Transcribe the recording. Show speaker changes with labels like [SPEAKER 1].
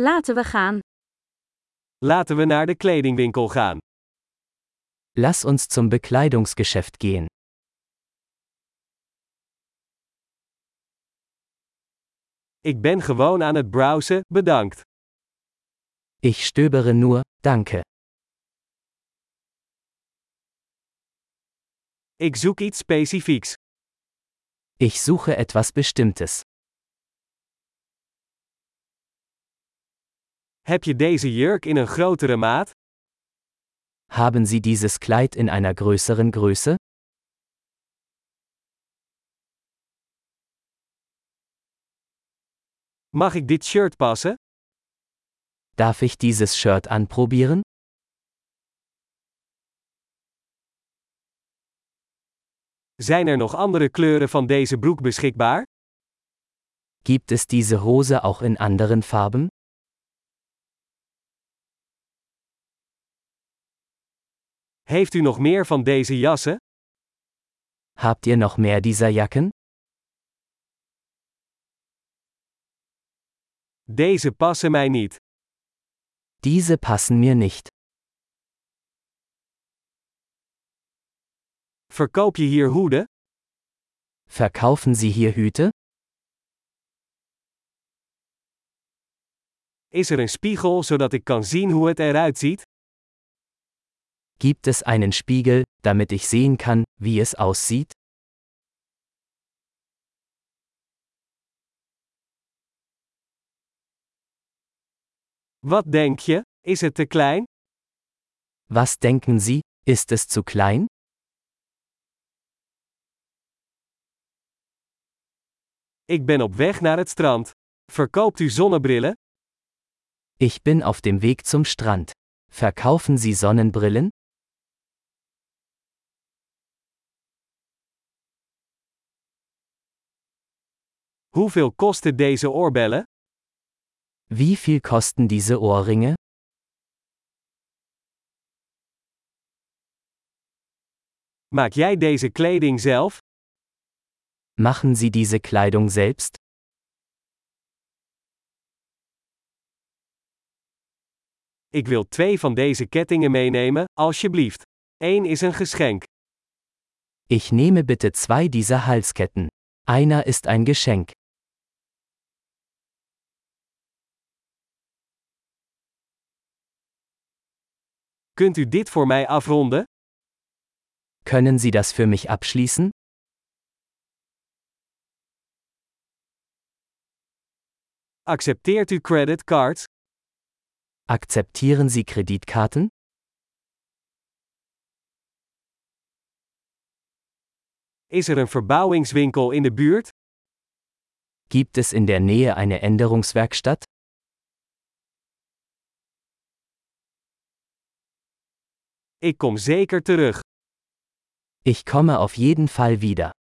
[SPEAKER 1] Laten we gaan.
[SPEAKER 2] Laten we naar de kledingwinkel gaan.
[SPEAKER 3] Lass uns zum Bekleidungsgeschäft gehen.
[SPEAKER 2] Ik ben gewoon aan het browsen, bedankt.
[SPEAKER 3] Ich stöbere nur, danke.
[SPEAKER 2] Ik zoek iets specifieks.
[SPEAKER 3] Ich suche etwas Bestimmtes.
[SPEAKER 2] Heb je deze jurk in een grotere maat?
[SPEAKER 3] Haben Sie dieses Kleid in einer größeren Größe?
[SPEAKER 2] Mag ik dit shirt passen?
[SPEAKER 3] Darf ich dieses Shirt anprobieren?
[SPEAKER 2] Zijn er nog andere kleuren van deze broek beschikbaar?
[SPEAKER 3] Gibt es diese Hose auch in anderen Farben?
[SPEAKER 2] Heeft u nog meer van deze jassen?
[SPEAKER 3] Habt ihr noch mehr dieser Jacken?
[SPEAKER 2] Deze passen mij niet.
[SPEAKER 3] Diese passen mir nicht.
[SPEAKER 2] Verkoop je hier hoeden?
[SPEAKER 3] Verkaufen Sie hier Hüte?
[SPEAKER 2] Is er een spiegel zodat ik kan zien hoe het eruit ziet?
[SPEAKER 3] Gibt es einen Spiegel, damit ich sehen kann, wie es aussieht?
[SPEAKER 2] Wat denk je? Is het te klein?
[SPEAKER 3] Was denken Sie, ist es zu klein?
[SPEAKER 2] Ik ben op weg naar het strand. Verkoopt u zonnebrillen?
[SPEAKER 3] Ich bin auf dem Weg zum Strand. Verkaufen Sie Sonnenbrillen?
[SPEAKER 2] Hoeveel kosten deze oorbellen?
[SPEAKER 3] Wie viel kosten diese Ohrringe?
[SPEAKER 2] Maak jij deze kleding zelf?
[SPEAKER 3] Machen Sie diese Kleidung selbst?
[SPEAKER 2] Ik wil twee van deze kettingen meenemen, alsjeblieft. Eén is een geschenk.
[SPEAKER 3] Ich nehme bitte zwei dieser Halsketten. Einer ist ein Geschenk.
[SPEAKER 2] Kunt u dit voor mij afronden?
[SPEAKER 3] Können Sie das für mich abschließen?
[SPEAKER 2] Accepteert u creditcards?
[SPEAKER 3] Akzeptieren Sie Kreditkarten?
[SPEAKER 2] Is er een verbouwingswinkel in de buurt?
[SPEAKER 3] Gibt es in der Nähe eine Änderungswerkstatt?
[SPEAKER 2] Ik kom zeker terug.
[SPEAKER 3] Ich komme auf jeden Fall wieder.